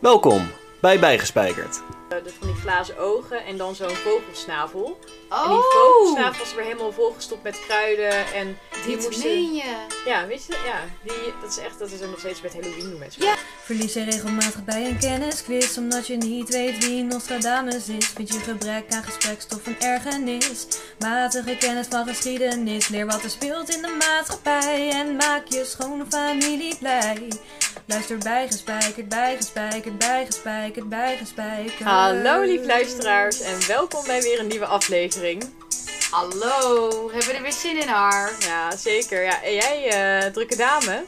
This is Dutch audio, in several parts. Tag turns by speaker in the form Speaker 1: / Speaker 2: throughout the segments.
Speaker 1: Welkom bij Bijgespijkerd.
Speaker 2: Eh, de- van die glazen ogen en dan zo'n vogelsnavel.
Speaker 3: Oh,
Speaker 2: En die vogelsnavel was weer helemaal volgestopt met kruiden en die
Speaker 3: dit
Speaker 2: moesten...
Speaker 3: meen je.
Speaker 2: Ja, weet je, ja, die, dat is echt, dat is er nog steeds met Halloween doen mensen.
Speaker 3: Ja.
Speaker 4: Verlies je regelmatig bij een kennisquiz Omdat je niet weet wie Nostradamus is Vind je gebrek aan gesprekstof een ergernis Matige kennis van geschiedenis Leer wat er speelt in de maatschappij En maak je schone familie blij Luister bijgespijkerd, bijgespijkerd, bijgespijkerd, bijgespijkerd
Speaker 2: Hallo lief luisteraars en welkom bij weer een nieuwe aflevering.
Speaker 3: Hallo, hebben we er weer zin in haar?
Speaker 2: Ja, zeker. Ja, en jij, eh, drukke dame.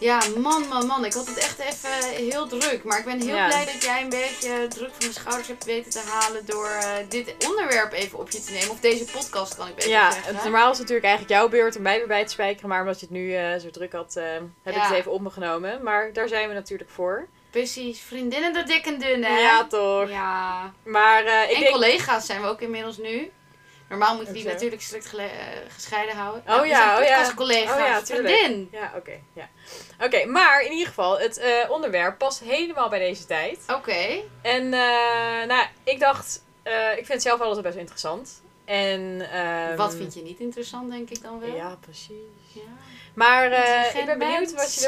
Speaker 3: Ja, man, man, man. Ik had het echt even heel druk. Maar ik ben heel
Speaker 2: Ja.
Speaker 3: blij dat jij een beetje druk van mijn schouders hebt weten te halen door eh, dit onderwerp even op je te nemen. Of deze podcast kan ik beter
Speaker 2: Ja,
Speaker 3: zeggen.
Speaker 2: het, normaal is het natuurlijk eigenlijk jouw beurt om mij weer bij te spijkeren, maar omdat je het nu eh, zo druk had, eh, heb ik
Speaker 3: Ja.
Speaker 2: het even op me genomen. Maar daar zijn we natuurlijk voor.
Speaker 3: Precies, vriendinnen de dik en dun, hè?
Speaker 2: Ja, toch.
Speaker 3: Ja.
Speaker 2: Maar eh, ik
Speaker 3: en
Speaker 2: denk...
Speaker 3: collega's zijn we ook inmiddels nu. Normaal moeten die
Speaker 2: Hoezo?
Speaker 3: natuurlijk strikt gele- eh, gescheiden houden.
Speaker 2: Oh ja, oh ja.
Speaker 3: collega,
Speaker 2: Oh ja, tuurlijk.
Speaker 3: vriendin.
Speaker 2: Ja, oké. ja. Oké, maar in ieder geval, het eh, onderwerp past helemaal bij deze tijd.
Speaker 3: Oké.
Speaker 2: En eh, nou, ik dacht, eh, ik vind het zelf altijd best wel interessant. En, ehm,
Speaker 3: Wat vind je niet interessant, denk ik dan wel?
Speaker 2: Ja, precies.
Speaker 3: Ja.
Speaker 2: Maar eh, ik
Speaker 3: Intelligent
Speaker 2: ben benieuwd
Speaker 3: mens.
Speaker 2: wat je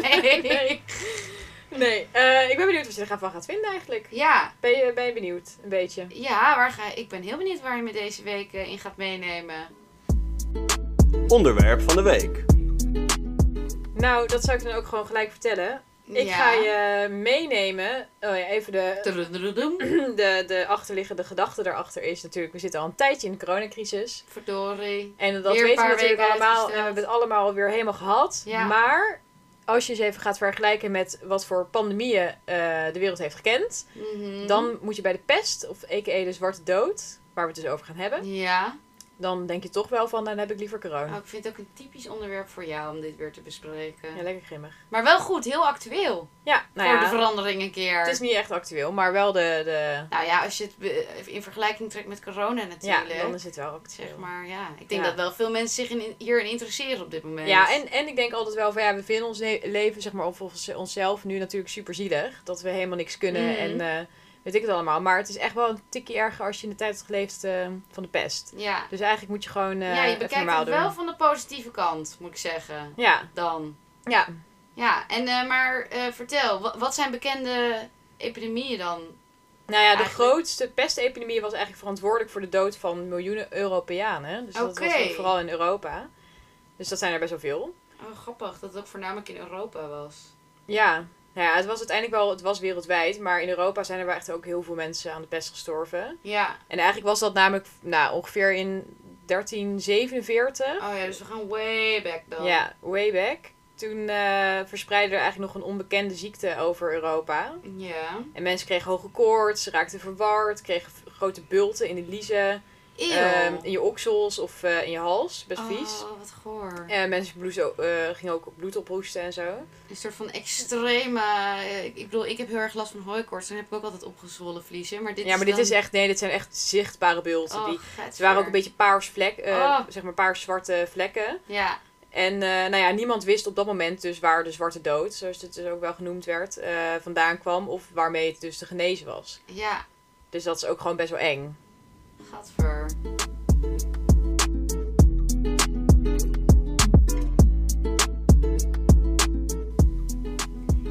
Speaker 2: er...
Speaker 3: nee.
Speaker 2: Nee, nee eh, ik ben benieuwd wat je er gaan- van gaat vinden eigenlijk.
Speaker 3: Ja,
Speaker 2: Ben je, ben je benieuwd? Een beetje.
Speaker 3: ja waar ga, ik ben heel benieuwd waar je me deze week eh, in gaat meenemen.
Speaker 1: Onderwerp van de week.
Speaker 2: Nou, dat zou ik dan ook gewoon gelijk vertellen. Ik
Speaker 3: ja.
Speaker 2: ga je meenemen. Oh ja, even de,
Speaker 3: Trudududoem.
Speaker 2: de, de achterliggende gedachte daarachter is natuurlijk, we zitten al een tijdje in de coronacrisis.
Speaker 3: Verdorie.
Speaker 2: En dat
Speaker 3: Weer een
Speaker 2: weten we
Speaker 3: paar
Speaker 2: natuurlijk
Speaker 3: weken
Speaker 2: allemaal. En we
Speaker 3: uitgesteld.
Speaker 2: hebben het allemaal weer helemaal gehad.
Speaker 3: Ja.
Speaker 2: Maar als je eens even gaat vergelijken met wat voor pandemieën eh, de wereld heeft gekend,
Speaker 3: Mhm.
Speaker 2: dan moet je bij de pest, of a.k.a. de zwarte dood, waar we het dus over gaan hebben,
Speaker 3: Ja,
Speaker 2: dan denk je toch wel van, dan heb ik liever corona.
Speaker 3: oh, ik vind het ook een typisch onderwerp voor jou om dit weer te bespreken.
Speaker 2: Ja, lekker grimmig.
Speaker 3: Maar wel goed, heel actueel.
Speaker 2: Ja, nou
Speaker 3: voor de
Speaker 2: ja,
Speaker 3: verandering een keer.
Speaker 2: het is niet echt actueel, maar wel de... de
Speaker 3: Nou ja, als je het be- in vergelijking trekt met corona
Speaker 2: ja,
Speaker 3: natuurlijk.
Speaker 2: dan is het wel actueel.
Speaker 3: Zeg maar, ja. Ik denk
Speaker 2: Ja.
Speaker 3: dat wel veel mensen zich in, hierin interesseren op dit moment.
Speaker 2: Ja, en, en ik denk altijd wel van ja, we vinden ons le- leven, zeg maar, of ons- onszelf nu natuurlijk super zielig. Dat we helemaal niks kunnen
Speaker 3: Mhm.
Speaker 2: en eh, weet ik het allemaal. Maar het is echt wel een tikje erger als je in de tijd hebt geleefd eh, van de pest.
Speaker 3: Ja.
Speaker 2: Dus eigenlijk moet je gewoon eh
Speaker 3: ja, je
Speaker 2: even
Speaker 3: bekijkt
Speaker 2: normaal
Speaker 3: het
Speaker 2: doen.
Speaker 3: wel van de positieve kant, moet ik zeggen.
Speaker 2: Ja,
Speaker 3: Dan.
Speaker 2: ja.
Speaker 3: Ja, en eh, maar eh, vertel, wa- wat zijn bekende epidemieën dan?
Speaker 2: Nou ja, de
Speaker 3: Eigenlijk-
Speaker 2: grootste pestepidemie was eigenlijk verantwoordelijk voor de dood van miljoenen Europeanen. Dus dat was
Speaker 3: Oké.
Speaker 2: ook vooral in Europa. Dus dat zijn er best wel veel.
Speaker 3: Oh, grappig dat het ook voornamelijk in Europa was.
Speaker 2: Ja. Nou ja, het was uiteindelijk wel, het was wereldwijd, maar in Europa zijn er wel echt ook heel veel mensen aan de pest gestorven.
Speaker 3: Ja,
Speaker 2: En eigenlijk was dat namelijk nou, ongeveer in 1347.
Speaker 3: oh ja, dus we gaan way back dan.
Speaker 2: Ja, way back. Toen eh, verspreidde er eigenlijk nog een onbekende ziekte over Europa.
Speaker 3: Ja.
Speaker 2: En mensen kregen hoge koorts, ze raakten verward, kregen v- grote bulten in de liezen,
Speaker 3: Eeuw.
Speaker 2: ehm, in je oksels of eh, in je hals. Best vies.
Speaker 3: Oh, wat goor.
Speaker 2: En mensen bloes- eh, gingen ook bloed ophoesten en zo.
Speaker 3: Een soort van extreme... eh, ik bedoel, ik heb heel erg last van hooikoorts. en heb ik ook altijd opgezwollen vliezen. Maar dit
Speaker 2: ja, maar dit
Speaker 3: dan-
Speaker 2: is echt, nee, dit zijn echt zichtbare bulten.
Speaker 3: Oh,
Speaker 2: die,
Speaker 3: gaat
Speaker 2: ze waren
Speaker 3: ver.
Speaker 2: ook een beetje paars vlek, eh,
Speaker 3: Oh.
Speaker 2: zeg maar paars-zwarte vlekken.
Speaker 3: Ja,
Speaker 2: En eh, nou ja, niemand wist op dat moment dus waar de zwarte dood, zoals het dus ook wel genoemd werd, eh, vandaan kwam. Of waarmee het dus te genezen was.
Speaker 3: ja,
Speaker 2: Dus dat is ook gewoon best wel eng.
Speaker 3: gaat ver.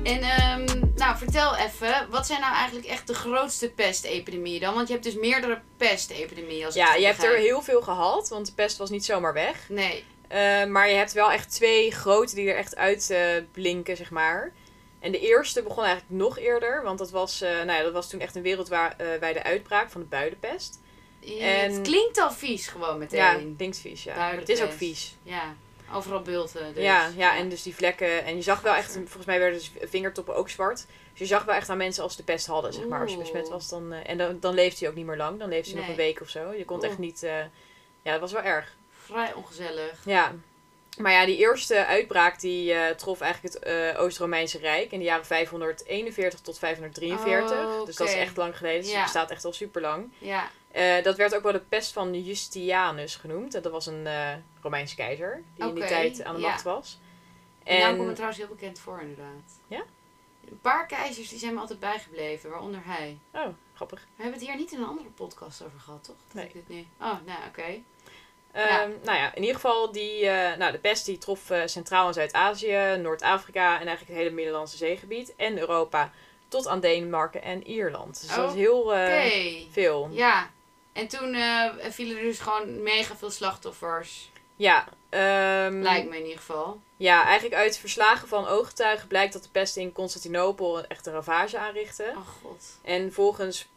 Speaker 3: En ehm, nou, vertel even, wat zijn nou eigenlijk echt de grootste pestepidemieën dan? Want je hebt dus meerdere pestepidemieën als ik
Speaker 2: Ja,
Speaker 3: het
Speaker 2: je
Speaker 3: goed
Speaker 2: hebt er
Speaker 3: begrijp.
Speaker 2: heel veel gehad, want de pest was niet zomaar weg.
Speaker 3: Nee,
Speaker 2: Eh, maar je hebt wel echt twee grote die er echt uit eh, blinken, zeg maar. En de eerste begon eigenlijk nog eerder, want dat was, eh, nou ja, dat was toen echt een wereldwijde uitbraak van de buidenpest. En-
Speaker 3: het klinkt al vies gewoon
Speaker 2: Ja,
Speaker 3: meteen.
Speaker 2: klinkt vies, ja. Maar Het is
Speaker 3: Buidenpest.
Speaker 2: ook vies.
Speaker 3: Ja, overal bulten dus.
Speaker 2: Ja, ja, en dus die vlekken. En je zag wel echt,
Speaker 3: Gadver.
Speaker 2: volgens mij werden dus vingertoppen ook zwart. Dus je zag wel echt aan mensen als ze de pest hadden, zeg maar. Als je
Speaker 3: Oeh.
Speaker 2: besmet was, dan... eh, en dan, dan leefde hij ook niet meer lang. Dan leefde hij nog
Speaker 3: Nee.
Speaker 2: een week of zo. Je kon het echt
Speaker 3: Oeh.
Speaker 2: niet... eh, ja, dat was wel erg.
Speaker 3: Vrij ongezellig.
Speaker 2: Ja. Maar ja, die eerste uitbraak die eh, trof eigenlijk het eh, Oost-Romeinse Rijk in de jaren 541 tot 543.
Speaker 3: Oh,
Speaker 2: Dus dat is
Speaker 3: oké.
Speaker 2: echt lang geleden. Dus die
Speaker 3: Ja.
Speaker 2: bestaat echt al super lang.
Speaker 3: Ja,
Speaker 2: dat werd ook wel de pest van Justianus genoemd. En Dat was een eh Romeins keizer die in die
Speaker 3: Oké,
Speaker 2: tijd aan de
Speaker 3: ja.
Speaker 2: macht was.
Speaker 3: En... Nou komt het trouwens heel bekend voor inderdaad.
Speaker 2: Ja?
Speaker 3: Een paar keizers die zijn me altijd bijgebleven, waaronder hij.
Speaker 2: Oh, grappig.
Speaker 3: We hebben het hier niet in een andere podcast over gehad, toch? Dat
Speaker 2: Nee. Eh,
Speaker 3: ik dit nu... Oh, nou, oké. Ja.
Speaker 2: Ehm, Nou ja, in ieder geval, die, eh, nou, de pest die trof eh, Centraal- en Zuid-Azië, Noord-Afrika en eigenlijk het hele Middellandse zeegebied en Europa tot aan Denemarken en Ierland. Dus dat
Speaker 3: Oh,
Speaker 2: is heel eh,
Speaker 3: Oké.
Speaker 2: veel.
Speaker 3: Ja. En toen eh, vielen er dus gewoon mega veel slachtoffers.
Speaker 2: Ja, ehm,
Speaker 3: Lijkt me in ieder geval.
Speaker 2: ja, eigenlijk uit verslagen van ooggetuigen blijkt dat de pest in Constantinopel een echte ravage aanrichtte.
Speaker 3: Oh god.
Speaker 2: En volgens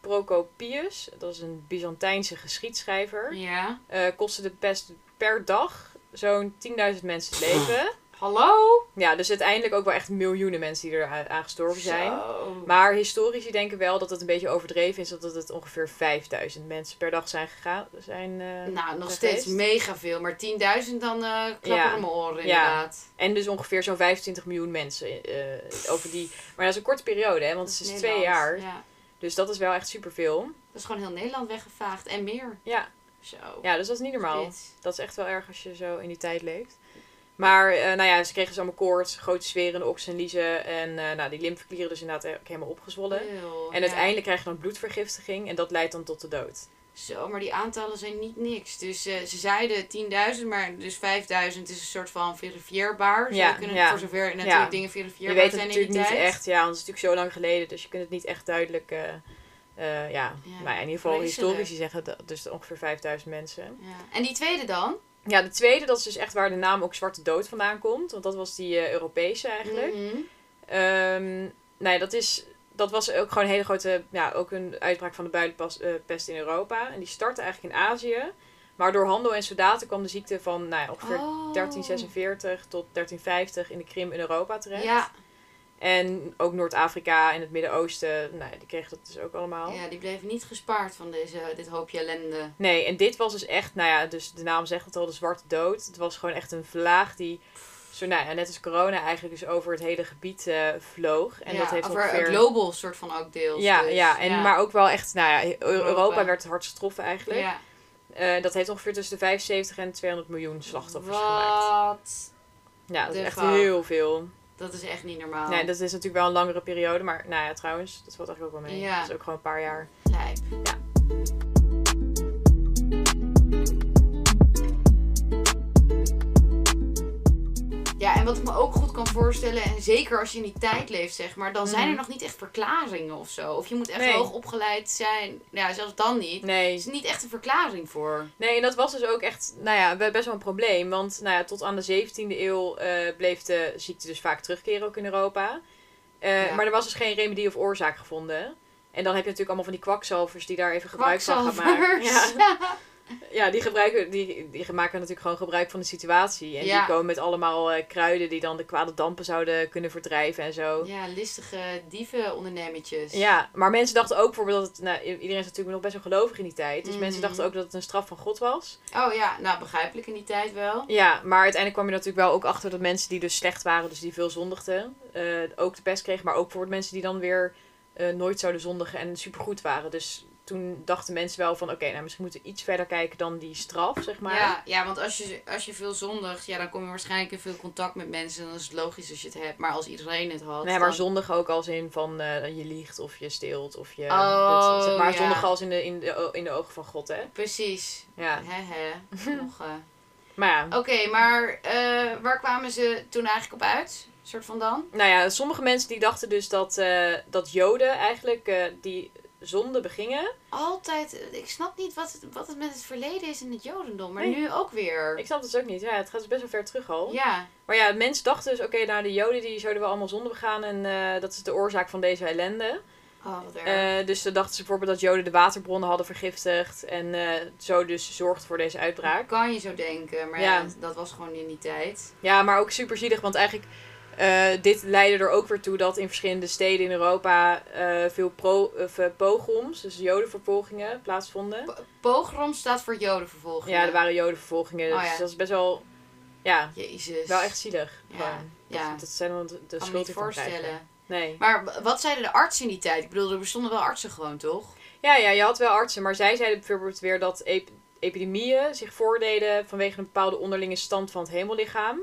Speaker 2: Procopius, dat is een Byzantijnse geschiedschrijver,
Speaker 3: Ja.
Speaker 2: eh, kostte de pest per dag zo'n 10.000 mensen het leven.
Speaker 3: Hallo?
Speaker 2: Ja, dus uiteindelijk ook wel echt miljoenen mensen die er aan aan gestorven zijn.
Speaker 3: Zo.
Speaker 2: Maar historici denken wel dat het een beetje overdreven is, dat het ongeveer 5000 mensen per dag zijn gegaan. Zijn, eh,
Speaker 3: Nou, nog
Speaker 2: geweest.
Speaker 3: steeds mega veel. Maar 10.000 dan eh klappen
Speaker 2: Ja.
Speaker 3: er mijn oren inderdaad.
Speaker 2: En dus ongeveer zo'n 25 miljoen mensen eh, over die. Maar dat is een korte periode, hè, want het is twee
Speaker 3: Nederland,
Speaker 2: jaar.
Speaker 3: Ja.
Speaker 2: Dus dat is wel echt superveel.
Speaker 3: Dat is gewoon heel Nederland weggevaagd. En meer.
Speaker 2: Ja.
Speaker 3: Zo.
Speaker 2: ja, dus dat is niet normaal.
Speaker 3: Dit.
Speaker 2: Dat is echt wel erg als je zo in die tijd leeft. Maar eh, nou ja, ze kregen dus allemaal koorts, grote zweren, in de oksenliezen. En eh, nou, die lymfeklieren dus inderdaad ook helemaal opgezwollen.
Speaker 3: Heel,
Speaker 2: En
Speaker 3: ja.
Speaker 2: uiteindelijk krijg je dan bloedvergiftiging en dat leidt dan tot de dood.
Speaker 3: Zo, maar die aantallen zijn niet niks. Dus eh, ze zeiden 10.000, maar dus 5.000 is een soort van verifieerbaar. Ze
Speaker 2: Ja,
Speaker 3: kunnen
Speaker 2: ja.
Speaker 3: voor zover natuurlijk
Speaker 2: Ja.
Speaker 3: dingen
Speaker 2: Je
Speaker 3: verifieerbaar
Speaker 2: weet het
Speaker 3: zijn in die
Speaker 2: natuurlijk
Speaker 3: tijd.
Speaker 2: niet echt, ja, want het is natuurlijk zo lang geleden, dus je kunt het niet echt duidelijk. eh, eh, ja,
Speaker 3: Ja,
Speaker 2: maar in ieder geval
Speaker 3: vreselijk.
Speaker 2: historici zeggen dat dus ongeveer 5000 mensen.
Speaker 3: Ja. En die tweede dan?
Speaker 2: Ja, de tweede, dat is dus echt waar de naam ook Zwarte Dood vandaan komt, want dat was die eh, Europese eigenlijk.
Speaker 3: Mhm.
Speaker 2: Ehm nee, dat, is, dat was ook gewoon een hele grote, ja, ook een uitbraak van de builenpest in Europa. En die startte eigenlijk in Azië. Maar door handel en soldaten kwam de ziekte van nou ja, ongeveer
Speaker 3: Oh.
Speaker 2: 1346 tot 1350 in de Krim in Europa terecht.
Speaker 3: Ja.
Speaker 2: En ook Noord-Afrika en het Midden-Oosten, nou, ja, die kregen dat dus ook allemaal.
Speaker 3: ja, die bleven niet gespaard van deze, dit hoopje ellende.
Speaker 2: Nee, en dit was dus echt, nou ja, dus de naam zegt het al, de Zwarte Dood. Het was gewoon echt een vlaag die, zo, nou ja, net als corona eigenlijk, dus over het hele gebied eh, vloog. En
Speaker 3: ja,
Speaker 2: dat heeft
Speaker 3: over een
Speaker 2: ongeveer...
Speaker 3: global soort van ook deels.
Speaker 2: Ja,
Speaker 3: dus.
Speaker 2: ja, en, maar ook wel echt, nou ja, Eu- Europa,
Speaker 3: Europa.
Speaker 2: werd het hardst getroffen eigenlijk.
Speaker 3: Ja.
Speaker 2: Eh, dat heeft ongeveer tussen de 75 en 200 miljoen slachtoffers gemaakt.
Speaker 3: Wat?
Speaker 2: Ja, dat
Speaker 3: de
Speaker 2: is echt
Speaker 3: fuck.
Speaker 2: heel veel.
Speaker 3: Dat is echt niet normaal.
Speaker 2: Nee, dat is natuurlijk wel een langere periode, maar nou ja, trouwens, dat valt eigenlijk ook wel mee.
Speaker 3: Ja.
Speaker 2: Dat is ook gewoon een paar jaar.
Speaker 3: Lijp. Ja, en wat ik me ook goed kan voorstellen, en zeker als je in die tijd leeft, zeg maar, dan zijn er nog niet echt verklaringen of zo. Of je moet echt
Speaker 2: Mhm. Nee.
Speaker 3: hoog opgeleid zijn. Ja, zelfs dan niet. Er
Speaker 2: Nee.
Speaker 3: is niet echt een verklaring voor.
Speaker 2: nee, en dat was dus ook echt, nou ja, be- best wel een probleem. Want nou ja, tot aan de 17e eeuw eh, bleef de ziekte dus vaak terugkeren, ook in Europa. Eh,
Speaker 3: Ja.
Speaker 2: Maar er was dus geen remedie of oorzaak gevonden. En dan heb je natuurlijk allemaal van die kwakzalvers die daar even gebruik van gaan maken. Ja.
Speaker 3: Kwakzalvers.
Speaker 2: Ja, die, gebruiken, die, die maken natuurlijk gewoon gebruik van de situatie. En
Speaker 3: Ja.
Speaker 2: die komen met allemaal eh, kruiden die dan de kwade dampen zouden kunnen verdrijven en zo. Ja.
Speaker 3: Ja, listige dievenondernemertjes.
Speaker 2: maar mensen dachten ook bijvoorbeeld dat het, nou, i- iedereen is natuurlijk nog best wel gelovig in die tijd. Dus mensen
Speaker 3: Mhm.
Speaker 2: dachten ook dat het een straf van God was.
Speaker 3: Oh ja, nou begrijpelijk in die tijd wel.
Speaker 2: Ja, maar uiteindelijk kwam je natuurlijk wel ook achter dat mensen die dus slecht waren, dus die veel zondigden, eh, ook de pest kregen. Maar ook voor mensen die dan weer eh, nooit zouden zondigen en supergoed waren. Dus toen dachten mensen wel van, oké, nou misschien moeten we iets verder kijken dan die straf, zeg maar.
Speaker 3: Ja, ja, want als je, als je veel zondigt, ja, dan kom je waarschijnlijk in veel contact met mensen. En dan is het logisch als je het hebt. Maar als iedereen het had.
Speaker 2: Nee, maar
Speaker 3: dan-
Speaker 2: zondig ook als in van eh, je liegt of je steelt of je.
Speaker 3: Oh,
Speaker 2: dat- zeg maar
Speaker 3: ja.
Speaker 2: zondig als in de, in, de, o- in de ogen van God, hè?
Speaker 3: Precies.
Speaker 2: Ja.
Speaker 3: Hè, hè. Nog, eh.
Speaker 2: Maar ja.
Speaker 3: Oké, maar eh, waar kwamen ze toen eigenlijk op uit? soort van dan?
Speaker 2: Nou ja, sommige mensen die dachten dus dat, eh, dat Joden eigenlijk eh, die zonde begingen.
Speaker 3: Altijd, eh, ik snap niet wat het, wat het met het verleden is in het Jodendom, maar
Speaker 2: Nee.
Speaker 3: nu ook weer.
Speaker 2: Ik snap dat dus ook niet. Ja, het gaat dus best wel ver terug al.
Speaker 3: Ja,
Speaker 2: Maar ja, mensen dachten dus, oké, nou de Joden die zouden wel allemaal zonde begaan en eh, dat is de oorzaak van deze ellende.
Speaker 3: oh, wat erg.
Speaker 2: Eh, dus dan dachten ze bijvoorbeeld dat Joden de waterbronnen hadden vergiftigd en eh, zo dus zorgden voor deze uitbraak.
Speaker 3: kan je zo denken, maar ja.
Speaker 2: Ja.
Speaker 3: dat was gewoon in die tijd.
Speaker 2: Ja, maar ook super zielig, want eigenlijk eh, dit leidde er ook weer toe dat in verschillende steden in Europa eh, veel pro, of, eh, pogroms, dus jodenvervolgingen, plaatsvonden.
Speaker 3: Pogrom staat voor Jodenvervolging.
Speaker 2: Ja, er waren jodenvervolgingen,
Speaker 3: Oh,
Speaker 2: dus
Speaker 3: ja.
Speaker 2: dat is best wel, ja,
Speaker 3: Jezus.
Speaker 2: wel echt zielig.
Speaker 3: Ja,
Speaker 2: gewoon.
Speaker 3: ja.
Speaker 2: Dat, dat zijn dan de, de
Speaker 3: kan me
Speaker 2: schuld
Speaker 3: niet
Speaker 2: die van krijgen.
Speaker 3: voorstellen.
Speaker 2: Nee.
Speaker 3: Maar w- wat zeiden de artsen in die tijd? Ik bedoel, er bestonden wel artsen gewoon, toch?
Speaker 2: Ja, ja, je had wel artsen, maar zij zeiden bijvoorbeeld weer dat ep- epidemieën zich voordeden vanwege een bepaalde onderlinge stand van het hemellichaam.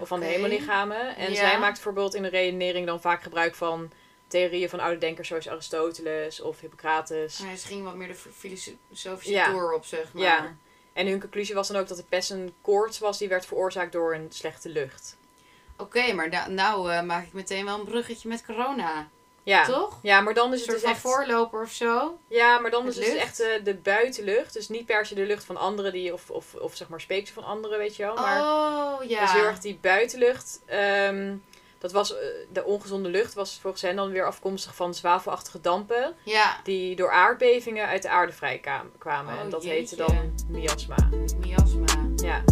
Speaker 2: of van de
Speaker 3: Oké.
Speaker 2: hemellichamen. En
Speaker 3: Ja.
Speaker 2: zij maakt bijvoorbeeld in de redenering dan vaak gebruik van theorieën van oude denkers zoals Aristoteles of Hippocrates.
Speaker 3: Hij ging wat meer de f- filosofische
Speaker 2: Ja.
Speaker 3: tour op, zeg maar.
Speaker 2: Ja. En hun conclusie was dan ook dat de pest een koorts was die werd veroorzaakt door een slechte lucht.
Speaker 3: Oké, maar da- nou eh, maak ik meteen wel een bruggetje met corona.
Speaker 2: Ja.
Speaker 3: Toch?
Speaker 2: Ja, maar dan is
Speaker 3: Een
Speaker 2: het
Speaker 3: soort
Speaker 2: dus
Speaker 3: van
Speaker 2: echt...
Speaker 3: voorloper of zo.
Speaker 2: Ja, maar dan
Speaker 3: Met
Speaker 2: is het dus
Speaker 3: lucht?
Speaker 2: echt eh, de buitenlucht. Dus niet per se de lucht van anderen die, of, of, of zeg maar speeksel van anderen, weet je wel. Maar
Speaker 3: oh, ja.
Speaker 2: dus heel erg die buitenlucht. ehm, dat was, eh, de ongezonde lucht was volgens hen dan weer afkomstig van zwavelachtige dampen.
Speaker 3: Ja,
Speaker 2: Die door aardbevingen uit de aarde vrij kam- kwamen.
Speaker 3: Oh,
Speaker 2: en dat
Speaker 3: jeetje.
Speaker 2: heette dan miasma.
Speaker 3: miasma.
Speaker 2: Ja.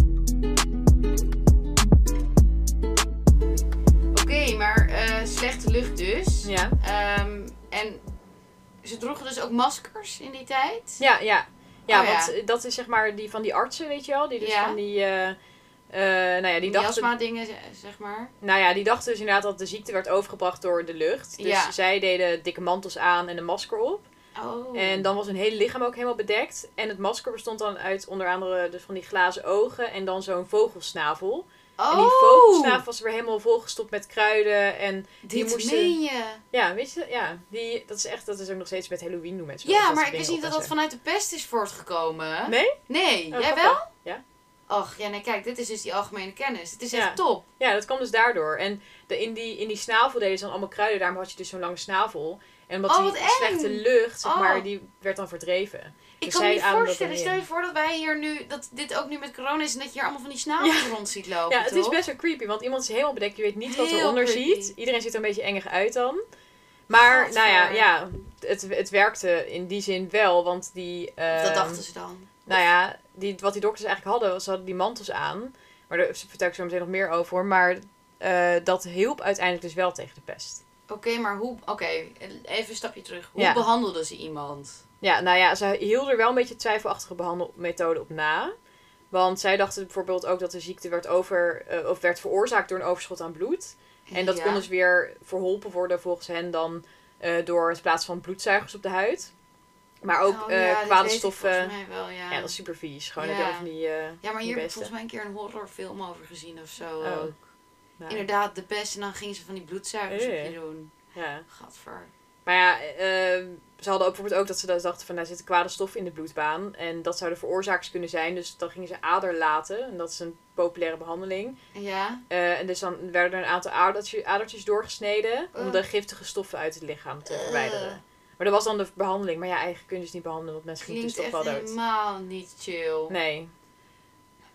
Speaker 3: Oké, maar eh, slechte lucht dus.
Speaker 2: Ja.
Speaker 3: Ehm, en ze droegen dus ook maskers in die tijd.
Speaker 2: Ja, ja. Ja,
Speaker 3: Oh, ja.
Speaker 2: want eh, dat is zeg maar die van die artsen, weet je wel. Die dus
Speaker 3: Ja.
Speaker 2: van die... eh, eh, nou ja, die dachten
Speaker 3: miasma dingen, ze- zeg maar.
Speaker 2: Nou ja, die dachten dus inderdaad dat de ziekte werd overgebracht door de lucht. Dus
Speaker 3: Ja.
Speaker 2: zij deden dikke mantels aan en een masker op.
Speaker 3: Oh.
Speaker 2: En dan was hun hele lichaam ook helemaal bedekt. En het masker bestond dan uit onder andere dus van die glazen ogen en dan zo'n vogelsnavel.
Speaker 3: oh,
Speaker 2: En die vogelsnavel was weer helemaal volgestopt met kruiden. En die
Speaker 3: dit
Speaker 2: moesten-
Speaker 3: meen je.
Speaker 2: ja, weet je, ja, die, dat is echt, dat is ook nog steeds met Halloween doen mensen. wel
Speaker 3: Ja,
Speaker 2: dat
Speaker 3: maar
Speaker 2: soort
Speaker 3: ik wist niet
Speaker 2: dingen
Speaker 3: dat
Speaker 2: op
Speaker 3: dat vanuit de pest is voortgekomen.
Speaker 2: en zo. Nee?
Speaker 3: Nee,
Speaker 2: Oh,
Speaker 3: jij
Speaker 2: grappig.
Speaker 3: wel?
Speaker 2: Ja.
Speaker 3: Och, ja, nee, kijk, dit is dus die algemene kennis. Het is echt
Speaker 2: Ja.
Speaker 3: top.
Speaker 2: Ja, dat kwam dus daardoor. En de, in, die, in die snavel deden ze dan allemaal kruiden. Daarom had je dus zo'n lange snavel. En omdat
Speaker 3: Oh,
Speaker 2: die
Speaker 3: wat eng!
Speaker 2: slechte lucht, zeg
Speaker 3: Oh.
Speaker 2: maar, die werd dan verdreven.
Speaker 3: Ik
Speaker 2: Dus
Speaker 3: kan me
Speaker 2: zij
Speaker 3: niet
Speaker 2: ademen dat
Speaker 3: voorstellen.
Speaker 2: dan
Speaker 3: Stel je
Speaker 2: in.
Speaker 3: voor dat wij hier nu, dat dit ook nu met corona is en dat je hier allemaal van die snavels rond ziet lopen.
Speaker 2: ja, het is
Speaker 3: toch?
Speaker 2: best wel creepy, want iemand is helemaal bedekt. Je weet niet wat
Speaker 3: Heel
Speaker 2: eronder
Speaker 3: creepy.
Speaker 2: ziet. Iedereen ziet er een beetje engig uit dan. Maar,
Speaker 3: Gadver.
Speaker 2: nou ja, ja het, het werkte in die zin wel, want die... eh,
Speaker 3: Dat dachten ze dan.
Speaker 2: Nou ja, die, wat die dokters eigenlijk hadden, was ze hadden die mantels aan. Maar daar vertel ik zo meteen nog meer over. hoor. Maar eh, dat hielp uiteindelijk dus wel tegen de pest.
Speaker 3: Oké, maar hoe... Oké, even een stapje terug. Hoe
Speaker 2: Ja.
Speaker 3: behandelden ze iemand?
Speaker 2: Ja, nou ja, ze hielden er wel een beetje twijfelachtige behandelmethoden op na. Want zij dachten bijvoorbeeld ook dat de ziekte werd, over, eh, of werd veroorzaakt door een overschot aan bloed. En dat
Speaker 3: Ja.
Speaker 2: kon dus weer verholpen worden volgens hen dan eh, door het plaatsen van bloedzuigers op de huid. Maar ook
Speaker 3: Oh,
Speaker 2: eh,
Speaker 3: ja, dit
Speaker 2: kwade
Speaker 3: weet ik
Speaker 2: stoffen.
Speaker 3: volgens mij wel, ja.
Speaker 2: ja. dat is super vies. Gewoon
Speaker 3: Ja.
Speaker 2: heb je al van die... eh,
Speaker 3: Ja,
Speaker 2: die
Speaker 3: maar hier heb ik
Speaker 2: beesten.
Speaker 3: volgens mij een keer een horrorfilm over gezien of zo.
Speaker 2: Oh,
Speaker 3: ook.
Speaker 2: nou,
Speaker 3: Inderdaad, de pest. En dan gingen ze van die bloedzuigers op je
Speaker 2: Eh.
Speaker 3: doen.
Speaker 2: ja.
Speaker 3: Gadver.
Speaker 2: Maar ja, eh, ze hadden ook bijvoorbeeld ook dat ze dachten van, daar zitten kwade stoffen in de bloedbaan. En dat zouden veroorzakers kunnen zijn. Dus dan gingen ze ader laten. En dat is een populaire behandeling.
Speaker 3: Ja?
Speaker 2: Eh, en dus dan werden er een aantal adertje- adertjes doorgesneden om
Speaker 3: Ugh.
Speaker 2: de giftige stoffen uit het lichaam te
Speaker 3: Ugh.
Speaker 2: verwijderen. Maar dat was dan de behandeling. Maar ja, eigenlijk kun je dus niet behandelen, want mensen moeten dus
Speaker 3: Klinkt
Speaker 2: toch
Speaker 3: echt
Speaker 2: wel dood.
Speaker 3: helemaal niet chill.
Speaker 2: Nee.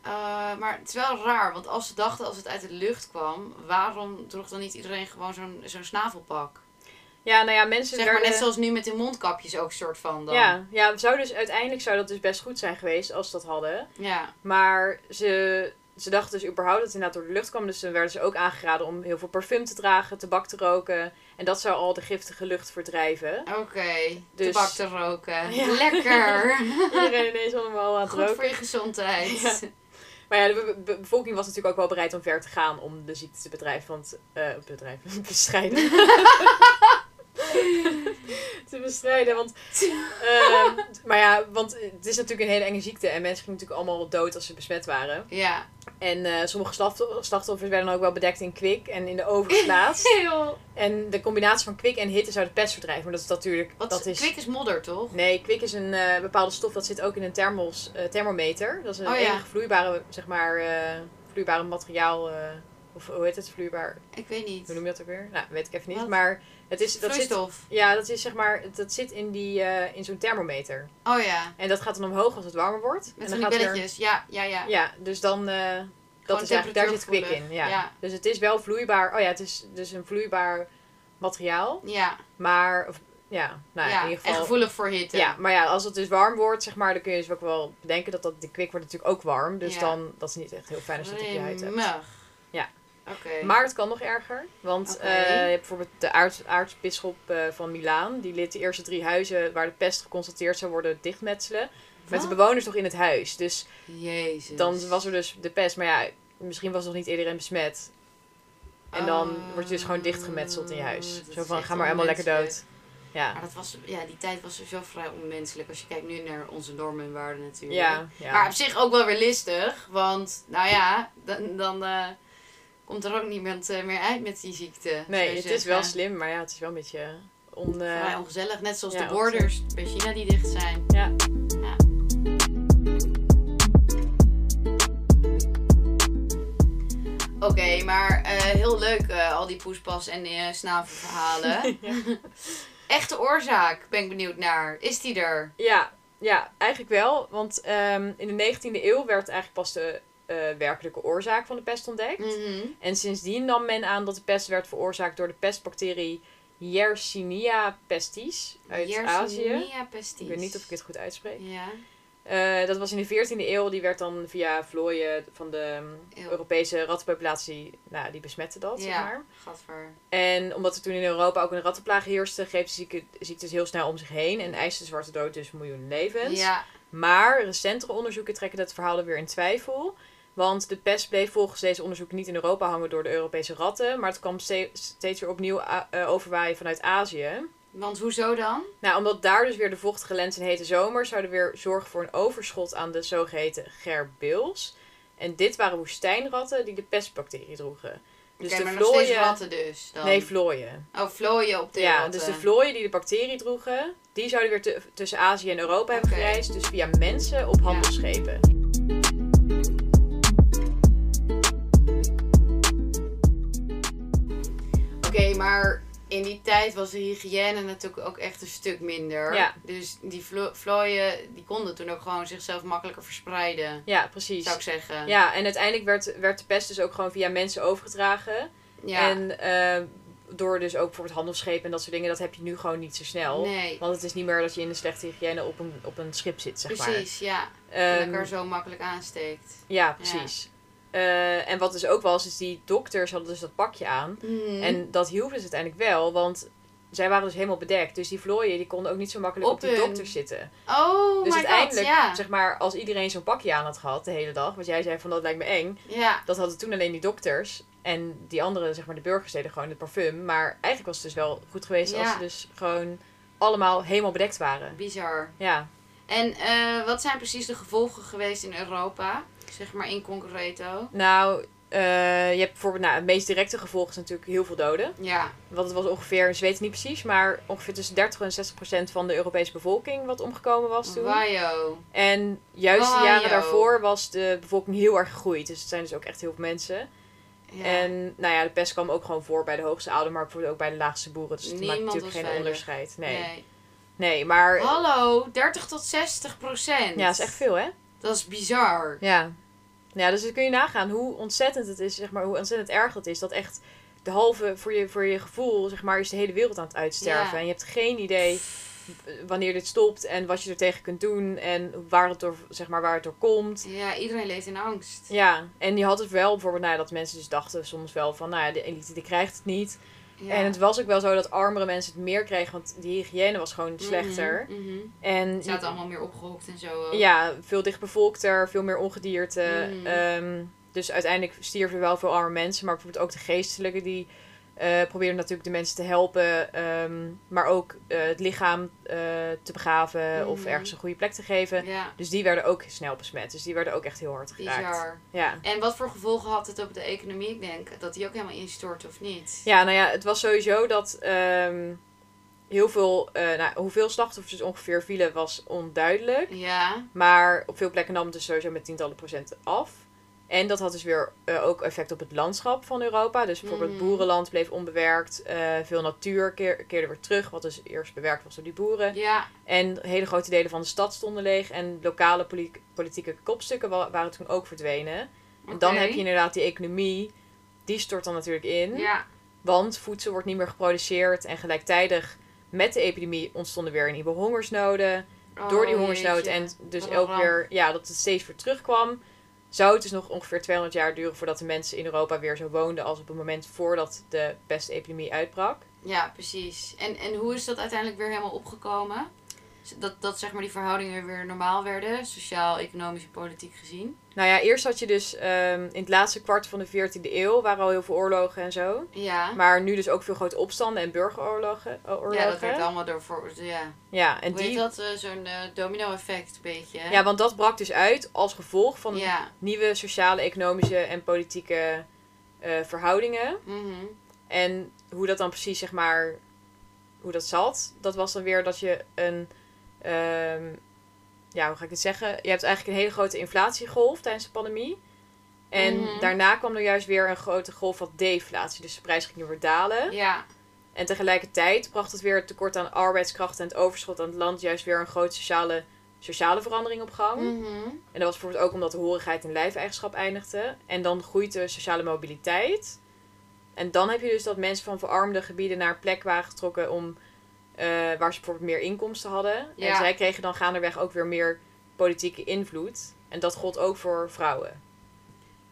Speaker 3: Eh, maar het is wel raar, want als ze dachten als het uit de lucht kwam, waarom droeg dan niet iedereen gewoon zo'n zo'n snavelpak?
Speaker 2: Ja, nou ja, mensen
Speaker 3: Zeg maar
Speaker 2: werden...
Speaker 3: net zoals nu met de mondkapjes ook soort van dan.
Speaker 2: Ja, ja zou dus, uiteindelijk zou dat dus best goed zijn geweest als ze dat hadden.
Speaker 3: Ja.
Speaker 2: Maar ze, ze dachten dus überhaupt dat het inderdaad door de lucht kwam. Dus dan werden ze ook aangeraden om heel veel parfum te dragen, tabak te roken. En dat zou al de giftige lucht verdrijven.
Speaker 3: Oké,
Speaker 2: Dus-
Speaker 3: tabak te roken.
Speaker 2: Ja.
Speaker 3: Lekker!
Speaker 2: Iedereen ineens allemaal aan het
Speaker 3: Goed
Speaker 2: roken.
Speaker 3: voor je gezondheid.
Speaker 2: Ja. Maar ja, de be- be- bevolking was natuurlijk ook wel bereid om ver te gaan om de ziekte te bedrijven, want, eh, bedrijven, bestrijden. te bestrijden, want, eh, maar ja, want het is natuurlijk een hele enge ziekte en mensen gingen natuurlijk allemaal dood als ze besmet waren.
Speaker 3: Ja.
Speaker 2: En eh, sommige slacht- slachtoffers werden dan ook wel bedekt in kwik en in de oven geplaatst.
Speaker 3: Heel.
Speaker 2: en de combinatie van kwik en hitte zou de pest verdrijven, maar dat is natuurlijk...
Speaker 3: Wat
Speaker 2: dat is,
Speaker 3: Kwik is modder, toch?
Speaker 2: Nee, kwik is een eh, bepaalde stof dat zit ook in een thermos, eh, thermometer. Dat is een
Speaker 3: Oh, ja.
Speaker 2: enige vloeibare, zeg maar, eh, vloeibare materiaal. eh, of hoe heet het? Vloeibaar.
Speaker 3: Ik weet niet.
Speaker 2: Hoe noem je dat ook weer? Nou, weet ik even niet.
Speaker 3: Wat?
Speaker 2: Maar het is. Dat zit,
Speaker 3: Vloeistof.
Speaker 2: ja, dat is zeg maar. Dat zit in, die, eh, in zo'n thermometer.
Speaker 3: Oh ja.
Speaker 2: En dat gaat dan omhoog als het warmer wordt.
Speaker 3: Met
Speaker 2: en
Speaker 3: van die
Speaker 2: dan gaat er-
Speaker 3: belletjes. Ja, ja, ja.
Speaker 2: Ja, dus dan. eh, dat
Speaker 3: Gewoon
Speaker 2: is eigenlijk, daar zit kwik in. Ja.
Speaker 3: temperatuurgevoelig. Ja.
Speaker 2: Dus het is wel vloeibaar. Oh ja, het is dus een vloeibaar materiaal.
Speaker 3: Ja.
Speaker 2: Maar. of- ja, nou
Speaker 3: ja.
Speaker 2: in ieder
Speaker 3: En
Speaker 2: geval.
Speaker 3: gevoelig voor hitte.
Speaker 2: Ja, maar ja, als het dus warm wordt, zeg maar, dan kun je dus ook wel bedenken dat, dat de kwik wordt natuurlijk ook warm. Dus
Speaker 3: Ja.
Speaker 2: dan, dat is niet echt heel fijn als je dat op je huid hebt.
Speaker 3: Grimmig.
Speaker 2: Ja.
Speaker 3: Oké.
Speaker 2: Maar het kan nog erger, want
Speaker 3: Oké.
Speaker 2: eh, je hebt bijvoorbeeld de aarts, aartsbisschop eh, van Milaan, die liet de eerste drie huizen waar de pest geconstateerd zou worden dichtmetselen. Met de
Speaker 3: Wat?
Speaker 2: bewoners nog in het huis. Dus
Speaker 3: Jezus.
Speaker 2: dan was er dus de pest, maar ja, misschien was nog niet iedereen besmet. En dan
Speaker 3: Oh,
Speaker 2: wordt je dus gewoon dichtgemetseld in je huis.
Speaker 3: dat
Speaker 2: Zo
Speaker 3: is
Speaker 2: van,
Speaker 3: echt
Speaker 2: ga maar helemaal lekker dood.
Speaker 3: onmenselijk.
Speaker 2: Ja,
Speaker 3: Maar dat was, ja, die tijd was sowieso vrij onmenselijk. Als je kijkt nu naar onze normen en waarden natuurlijk.
Speaker 2: ja, ja.
Speaker 3: Maar op zich ook wel weer listig. Want, nou ja, dan, dan eh, komt er ook niemand eh, meer uit met die ziekte. zou
Speaker 2: Nee,
Speaker 3: je
Speaker 2: het is wel
Speaker 3: zeggen.
Speaker 2: slim, maar ja, het is wel een beetje on... eh,
Speaker 3: Voor mij ongezellig, net zoals
Speaker 2: ja,
Speaker 3: de borders bij China die dicht zijn.
Speaker 2: ja.
Speaker 3: Ja. Oké, maar eh, heel leuk eh, al die poespas en eh snavelverhalen. Echte oorzaak, ben ik benieuwd naar. Is die er?
Speaker 2: Ja, ja, eigenlijk wel. Want ehm, in de 19e eeuw werd eigenlijk pas de eh, werkelijke oorzaak van de pest ontdekt.
Speaker 3: Mm.
Speaker 2: En sindsdien nam men aan dat de pest werd veroorzaakt door de pestbacterie Yersinia pestis uit Azië.
Speaker 3: Yersinia pestis.
Speaker 2: Ik weet niet of ik het goed uitspreek.
Speaker 3: Ja.
Speaker 2: Eh, dat was in de 14e eeuw. Die werd dan via vlooien van de mm,
Speaker 3: Eeuw.
Speaker 2: Europese rattenpopulatie, nou, die besmette dat, zeg
Speaker 3: Ja.
Speaker 2: maar.
Speaker 3: Gadver.
Speaker 2: En omdat er toen in Europa ook een rattenplaag heerste, greep de zieke, ziektes heel snel om zich heen. En eiste de Zwarte Dood dus miljoenen levens.
Speaker 3: Ja.
Speaker 2: Maar recentere onderzoeken trekken dat verhaal er weer in twijfel. Want de pest bleef volgens deze onderzoeken niet in Europa hangen door de Europese ratten. Maar het kwam ste- steeds weer opnieuw a- eh, overwaaien vanuit Azië.
Speaker 3: Want hoezo dan?
Speaker 2: Nou, omdat daar dus weer de vochtige lente en hete zomer zouden weer zorgen voor een overschot aan de zogeheten gerbils. En dit waren woestijnratten die de pestbacterie droegen.
Speaker 3: Oké,
Speaker 2: Dus
Speaker 3: maar
Speaker 2: de
Speaker 3: nog steeds
Speaker 2: vlooien.
Speaker 3: ratten dus. Dan.
Speaker 2: nee, vlooien.
Speaker 3: oh, vlooien op de
Speaker 2: ja,
Speaker 3: ratten.
Speaker 2: dus de vlooien die de bacterie droegen, die zouden weer tu- tussen Azië en Europa hebben
Speaker 3: Oké.
Speaker 2: gereisd. Dus via mensen op handelsschepen.
Speaker 3: Oké, maar in die tijd was de hygiëne natuurlijk ook echt een stuk minder.
Speaker 2: Ja.
Speaker 3: Dus die vlo- vlooien, die konden toen ook gewoon zichzelf makkelijker verspreiden,
Speaker 2: Ja, precies.
Speaker 3: zou ik zeggen.
Speaker 2: Ja, en uiteindelijk werd, werd de pest dus ook gewoon via mensen overgedragen.
Speaker 3: Ja.
Speaker 2: En eh, door dus ook bijvoorbeeld handelsschepen en dat soort dingen, dat heb je nu gewoon niet zo snel.
Speaker 3: nee,
Speaker 2: Want het is niet meer dat je in de slechte hygiëne op een, op een schip zit, zeg maar.
Speaker 3: precies, ja. En
Speaker 2: Ehm,
Speaker 3: elkaar zo makkelijk aansteekt.
Speaker 2: ja, precies. Eh, en wat dus ook was, is die dokters hadden dus dat pakje aan.
Speaker 3: Mhm.
Speaker 2: En dat hielp dus uiteindelijk wel, want zij waren dus helemaal bedekt. Dus die vlooien die konden ook niet zo makkelijk op,
Speaker 3: Op
Speaker 2: die
Speaker 3: hun.
Speaker 2: dokters zitten.
Speaker 3: oh
Speaker 2: dus
Speaker 3: my god,
Speaker 2: uiteindelijk,
Speaker 3: ja.
Speaker 2: zeg maar, als iedereen zo'n pakje aan had gehad de hele dag, want jij zei van dat lijkt me eng,
Speaker 3: Ja,
Speaker 2: dat hadden toen alleen die dokters. En die anderen, zeg maar, de burgers deden gewoon het parfum. Maar eigenlijk was het dus wel goed geweest als
Speaker 3: Ja.
Speaker 2: ze dus gewoon allemaal helemaal bedekt waren.
Speaker 3: bizar.
Speaker 2: Ja.
Speaker 3: En eh, wat zijn precies de gevolgen geweest in Europa? Zeg maar in concreto.
Speaker 2: Nou, eh, je hebt bijvoorbeeld, nou, het meest directe gevolg is natuurlijk heel veel doden.
Speaker 3: Ja,
Speaker 2: Want het was ongeveer, ik weet het niet precies, maar ongeveer tussen 30 en 60 procent van de Europese bevolking wat omgekomen was toen.
Speaker 3: wajo.
Speaker 2: En juist de
Speaker 3: Wow,
Speaker 2: jaren
Speaker 3: joh.
Speaker 2: daarvoor was de bevolking heel erg gegroeid. Dus het zijn dus ook echt heel veel mensen.
Speaker 3: Ja.
Speaker 2: En nou ja, de pest kwam ook gewoon voor bij de hoogste adem, maar bijvoorbeeld ook bij de laagste boeren. Dus het maakt
Speaker 3: Niemand
Speaker 2: natuurlijk geen
Speaker 3: was veilig.
Speaker 2: onderscheid. Nee. nee. maar...
Speaker 3: Hallo, 30 tot 60 procent.
Speaker 2: Ja, dat is echt veel, hè?
Speaker 3: Dat is bizar.
Speaker 2: Ja. Ja, dus dan kun je nagaan hoe ontzettend het is, zeg maar, hoe ontzettend erg het is. Dat echt de halve, voor je, voor je gevoel, zeg maar, is de hele wereld aan het uitsterven.
Speaker 3: Ja.
Speaker 2: En je hebt geen idee wanneer dit stopt en wat je er tegen kunt doen en waar het door, zeg maar, waar het door komt.
Speaker 3: Ja, iedereen leeft in angst.
Speaker 2: Ja, en je had het wel bijvoorbeeld, nou ja, dat mensen dus dachten soms wel van, nou ja, de elite die krijgt het niet.
Speaker 3: Ja.
Speaker 2: En het was ook wel zo dat armere mensen het meer kregen, want die hygiëne was gewoon slechter.
Speaker 3: Mhm, mhm.
Speaker 2: En
Speaker 3: Ze zaten allemaal meer opgehokt en zo. ook.
Speaker 2: Ja, veel dichtbevolkter, veel meer ongedierte.
Speaker 3: Mm.
Speaker 2: Ehm, dus uiteindelijk stierven wel veel arme mensen. Maar bijvoorbeeld ook de geestelijken die eh probeerden natuurlijk de mensen te helpen. ehm, maar ook eh, het lichaam eh, te begraven of
Speaker 3: Mhm.
Speaker 2: ergens een goede plek te geven.
Speaker 3: Ja,
Speaker 2: Dus die werden ook snel besmet. Dus die werden ook echt heel hard geraakt.
Speaker 3: bizar.
Speaker 2: Ja.
Speaker 3: En wat voor gevolgen had het op de economie? Ik denk dat die ook helemaal instort of niet.
Speaker 2: ja, nou ja, het was sowieso dat ehm, heel veel, eh, nou, hoeveel slachtoffers dus ongeveer vielen was onduidelijk.
Speaker 3: Ja,
Speaker 2: Maar op veel plekken nam het dus sowieso met tientallen procenten af. En dat had dus weer eh, ook effect op het landschap van Europa. Dus bijvoorbeeld
Speaker 3: Mm.
Speaker 2: boerenland bleef onbewerkt. eh, veel natuur keer- keerde weer terug, wat dus eerst bewerkt was door die boeren.
Speaker 3: ja.
Speaker 2: En hele grote delen van de stad stonden leeg. En lokale poli- politieke kopstukken wa- waren toen ook verdwenen. En dan
Speaker 3: oké.
Speaker 2: heb je inderdaad die economie. Die stort dan natuurlijk in.
Speaker 3: Ja,
Speaker 2: Want voedsel wordt niet meer geproduceerd. En gelijktijdig met de epidemie ontstonden weer een nieuwe hongersnoden
Speaker 3: Oh,
Speaker 2: door die hongersnood
Speaker 3: jeetje.
Speaker 2: en dus
Speaker 3: Wat een
Speaker 2: elke
Speaker 3: ramp.
Speaker 2: keer ja, dat het steeds weer terugkwam, zou het dus nog ongeveer 200 jaar duren voordat de mensen in Europa weer zo woonden als op het moment voordat de pestepidemie uitbrak.
Speaker 3: Ja, precies. En, en hoe is dat uiteindelijk weer helemaal opgekomen? Z- Dat, dat zeg maar die verhoudingen weer normaal werden, sociaal, economisch en politiek gezien.
Speaker 2: Nou ja, eerst had je dus ehm, in het laatste kwart van de 14e eeuw waren al heel veel oorlogen en zo.
Speaker 3: Ja,
Speaker 2: Maar nu dus ook veel grote opstanden en burgeroorlogen. eh,
Speaker 3: ja dat
Speaker 2: oorlogen.
Speaker 3: werd allemaal door... Voor, ja.
Speaker 2: Ja, en
Speaker 3: Hoe heet
Speaker 2: die,
Speaker 3: dat? eh, Zo'n eh, domino-effect, een beetje. hè?
Speaker 2: ja, want dat brak dus uit als gevolg van
Speaker 3: ja.
Speaker 2: nieuwe sociale, economische en politieke eh, verhoudingen.
Speaker 3: Mhm.
Speaker 2: En hoe dat dan precies, zeg maar, hoe dat zat, dat was dan weer dat je een, ehm, ja, hoe ga ik het zeggen? Je hebt eigenlijk een hele grote inflatiegolf tijdens de pandemie. En
Speaker 3: Mhm.
Speaker 2: daarna kwam er juist weer een grote golf van deflatie. Dus de prijzen gingen weer dalen.
Speaker 3: Ja.
Speaker 2: En tegelijkertijd bracht het weer het tekort aan arbeidskrachten en het overschot aan het land juist weer een grote sociale, sociale verandering op gang.
Speaker 3: Mhm.
Speaker 2: En dat was bijvoorbeeld ook omdat de horigheid in lijfeigenschap eindigde. En dan groeit de sociale mobiliteit. En dan heb je dus dat mensen van verarmde gebieden naar een plek waren getrokken om, eh, waar ze bijvoorbeeld meer inkomsten hadden.
Speaker 3: Ja.
Speaker 2: En zij kregen dan gaandeweg ook weer meer politieke invloed. En dat gold ook voor vrouwen.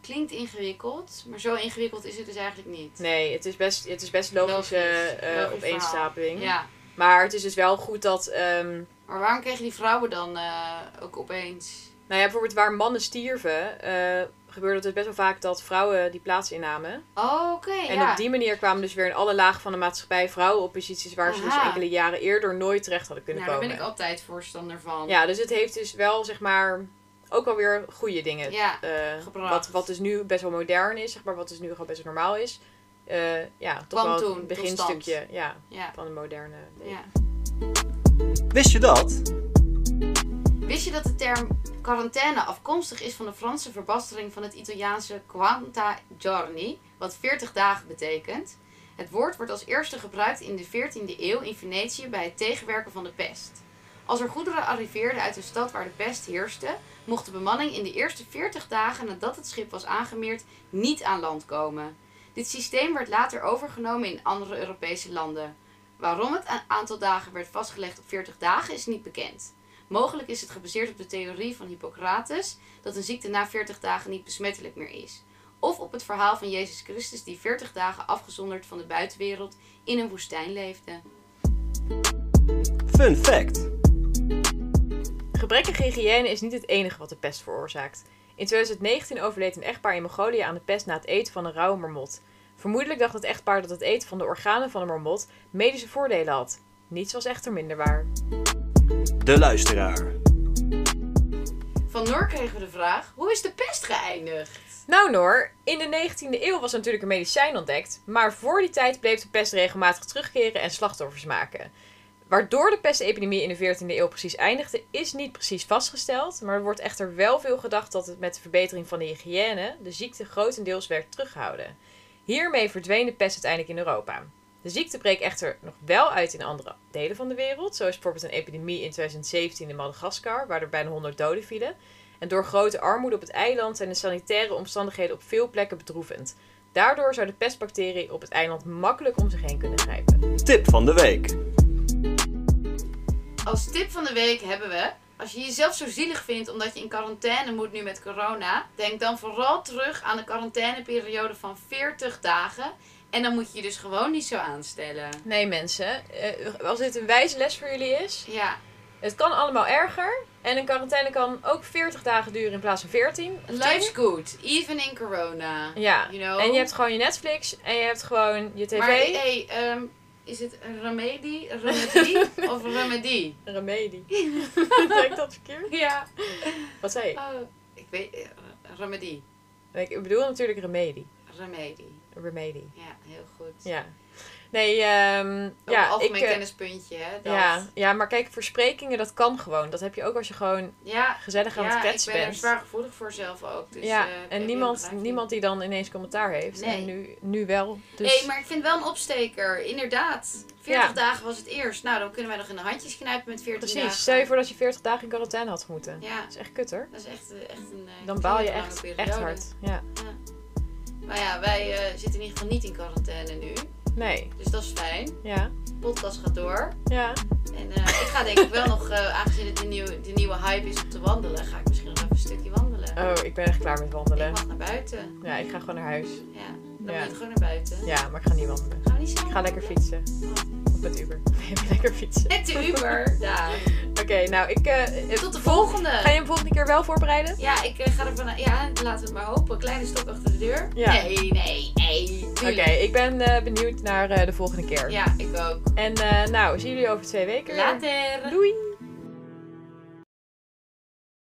Speaker 3: Klinkt ingewikkeld, maar zo ingewikkeld is het dus eigenlijk niet.
Speaker 2: Nee, het is best, het is best logische
Speaker 3: Logisch.
Speaker 2: eh,
Speaker 3: Logisch
Speaker 2: opeenstapeling.
Speaker 3: Ja.
Speaker 2: Maar het is dus wel goed dat ehm,
Speaker 3: Maar waarom kregen die vrouwen dan eh, ook opeens?
Speaker 2: Nou ja, bijvoorbeeld waar mannen stierven, eh, gebeurde het dus best wel vaak dat vrouwen die plaats innamen.
Speaker 3: Oh, oké.
Speaker 2: En
Speaker 3: ja.
Speaker 2: op die manier kwamen dus weer in alle lagen van de maatschappij vrouwen op posities waar ze dus
Speaker 3: Aha.
Speaker 2: enkele jaren eerder nooit terecht hadden kunnen
Speaker 3: nou, daar ben
Speaker 2: komen.
Speaker 3: ik altijd voorstander van.
Speaker 2: Ja, dus het heeft dus wel, zeg maar, ook alweer goede dingen.
Speaker 3: Ja,
Speaker 2: eh,
Speaker 3: gebracht.
Speaker 2: wat, wat dus nu best wel modern is, zeg maar, wat dus nu gewoon best wel normaal is. Eh, ja, toch
Speaker 3: Kwam
Speaker 2: wel
Speaker 3: toen
Speaker 2: een
Speaker 3: tot
Speaker 2: beginstukje ja,
Speaker 3: ja,
Speaker 2: van de moderne leven.
Speaker 3: ja.
Speaker 1: Wist je dat?
Speaker 3: Wist je dat de term quarantaine afkomstig is van de Franse verbastering van het Italiaanse quanta giorni, wat 40 dagen betekent? Het woord wordt als eerste gebruikt in de 14e eeuw in Venetië bij het tegenwerken van de pest. Als er goederen arriveerden uit een stad waar de pest heerste, mocht de bemanning in de eerste 40 dagen nadat het schip was aangemeerd niet aan land komen. Dit systeem werd later overgenomen in andere Europese landen. Waarom het a- aantal dagen werd vastgelegd op 40 dagen is niet bekend. Mogelijk is het gebaseerd op de theorie van Hippocrates dat een ziekte na 40 dagen niet besmettelijk meer is. Of op het verhaal van Jezus Christus die 40 dagen afgezonderd van de buitenwereld in een woestijn leefde.
Speaker 1: Fun fact.
Speaker 2: Gebrekkige hygiëne is niet het enige wat de pest veroorzaakt. In 2019 overleed een echtpaar in Mongolië aan de pest na het eten van een rauwe marmot. Vermoedelijk dacht het echtpaar dat het eten van de organen van de marmot medische voordelen had. Niets was echter minder waar.
Speaker 1: De luisteraar.
Speaker 3: Van Noor kregen we de vraag: hoe is de pest geëindigd?
Speaker 2: Nou Noor, in de 19e eeuw was er natuurlijk een medicijn ontdekt, maar voor die tijd bleef de pest regelmatig terugkeren en slachtoffers maken. Waardoor de pestepidemie in de 14e eeuw precies eindigde, is niet precies vastgesteld, maar er wordt echter wel veel gedacht dat het met de verbetering van de hygiëne de ziekte grotendeels werd teruggehouden. Hiermee verdween de pest uiteindelijk in Europa. De ziekte breekt echter nog wel uit in andere delen van de wereld. Zo is bijvoorbeeld een epidemie in 2017 in Madagaskar, waar er bijna 100 doden vielen. En door grote armoede op het eiland zijn de sanitaire omstandigheden op veel plekken bedroevend. Daardoor zou de pestbacterie op het eiland makkelijk om zich heen kunnen grijpen.
Speaker 1: Tip van de week.
Speaker 3: Als tip van de week hebben we: als je jezelf zo zielig vindt omdat je in quarantaine moet nu met corona, denk dan vooral terug aan de quarantaineperiode van 40 dagen. En dan moet je je dus gewoon niet zo aanstellen.
Speaker 2: Nee mensen, eh, als dit een wijze les voor jullie is,
Speaker 3: Ja,
Speaker 2: het kan allemaal erger. En een quarantaine kan ook 40 dagen duren in plaats van 14. of 10.
Speaker 3: life's good, even in corona.
Speaker 2: Ja,
Speaker 3: You know?
Speaker 2: en je hebt gewoon je Netflix en je hebt gewoon je tv.
Speaker 3: Maar hey, ehm, is het remedy, remedy of remedy?
Speaker 2: Remedie. Zeg ik dat verkeerd?
Speaker 3: Ja.
Speaker 2: Wat zei ik?
Speaker 3: Oh, ik weet, eh, remedy,
Speaker 2: Ik bedoel natuurlijk remedie.
Speaker 3: remedy.
Speaker 2: Remedie.
Speaker 3: Ja, heel goed.
Speaker 2: Ja. Nee, ehm
Speaker 3: Ook
Speaker 2: ja, ik,
Speaker 3: algemeen
Speaker 2: eh,
Speaker 3: kennispuntje, hè? Dat.
Speaker 2: Ja, ja, maar kijk, versprekingen, dat kan gewoon. Dat heb je ook als je gewoon
Speaker 3: Ja,
Speaker 2: gezellig aan
Speaker 3: ja,
Speaker 2: het
Speaker 3: ik
Speaker 2: kletsen
Speaker 3: ben er
Speaker 2: bent.
Speaker 3: zwaar gevoelig voor zelf ook. Dus,
Speaker 2: ja,
Speaker 3: eh, ik heb
Speaker 2: en
Speaker 3: heel
Speaker 2: niemand,
Speaker 3: gelijk.
Speaker 2: niemand die dan ineens commentaar heeft.
Speaker 3: Nee.
Speaker 2: En nu, nu wel. Dus
Speaker 3: Nee, maar ik vind wel een opsteker. Inderdaad. 40
Speaker 2: Ja.
Speaker 3: dagen was het eerst. Nou, dan kunnen wij nog in de handjes knijpen met 40 dagen.
Speaker 2: precies. Stel je voor dat je 40 dagen in quarantaine had moeten.
Speaker 3: Ja,
Speaker 2: Dat is echt kut hoor.
Speaker 3: dat is echt, eh, echt een eh,
Speaker 2: Dan baal je
Speaker 3: lange
Speaker 2: echt,
Speaker 3: periode.
Speaker 2: echt hard. Ja.
Speaker 3: Maar ja, wij eh, zitten in ieder geval niet in quarantaine nu.
Speaker 2: Nee.
Speaker 3: Dus dat is fijn.
Speaker 2: Ja.
Speaker 3: De podcast gaat door.
Speaker 2: Ja.
Speaker 3: En eh, ik ga denk ik wel nog, eh, aangezien het de nieuwe, de nieuwe hype is om te wandelen, ga ik misschien nog even een stukje wandelen.
Speaker 2: Oh, ik ben echt klaar met
Speaker 3: Ik
Speaker 2: wandelen.
Speaker 3: mag naar buiten.
Speaker 2: Ja, ik ga gewoon naar huis.
Speaker 3: Ja, dan
Speaker 2: Ja.
Speaker 3: moet ik gewoon naar buiten.
Speaker 2: Ja, maar ik ga niet wandelen.
Speaker 3: Gaan we niet samen
Speaker 2: Ik ga lekker
Speaker 3: wandelen? Oh.
Speaker 2: fietsen. Of met Uber. Nee, maar lekker fietsen.
Speaker 3: Met de Uber. Daar.
Speaker 2: Oké, nou, ik... eh, eh,
Speaker 3: Tot de volgende.
Speaker 2: Ga je hem volgende keer wel voorbereiden?
Speaker 3: Ja, ik eh, ga ervan uit. Ja, laten we het maar hopen. Kleine stok achter de deur.
Speaker 2: Ja.
Speaker 3: Nee, nee, nee.
Speaker 2: Oké,
Speaker 3: tuurlijk.
Speaker 2: ik ben eh, benieuwd naar eh, de volgende keer.
Speaker 3: Ja, ik ook.
Speaker 2: En eh, nou, zien jullie over twee weken. weer.
Speaker 3: Later.
Speaker 2: Doei!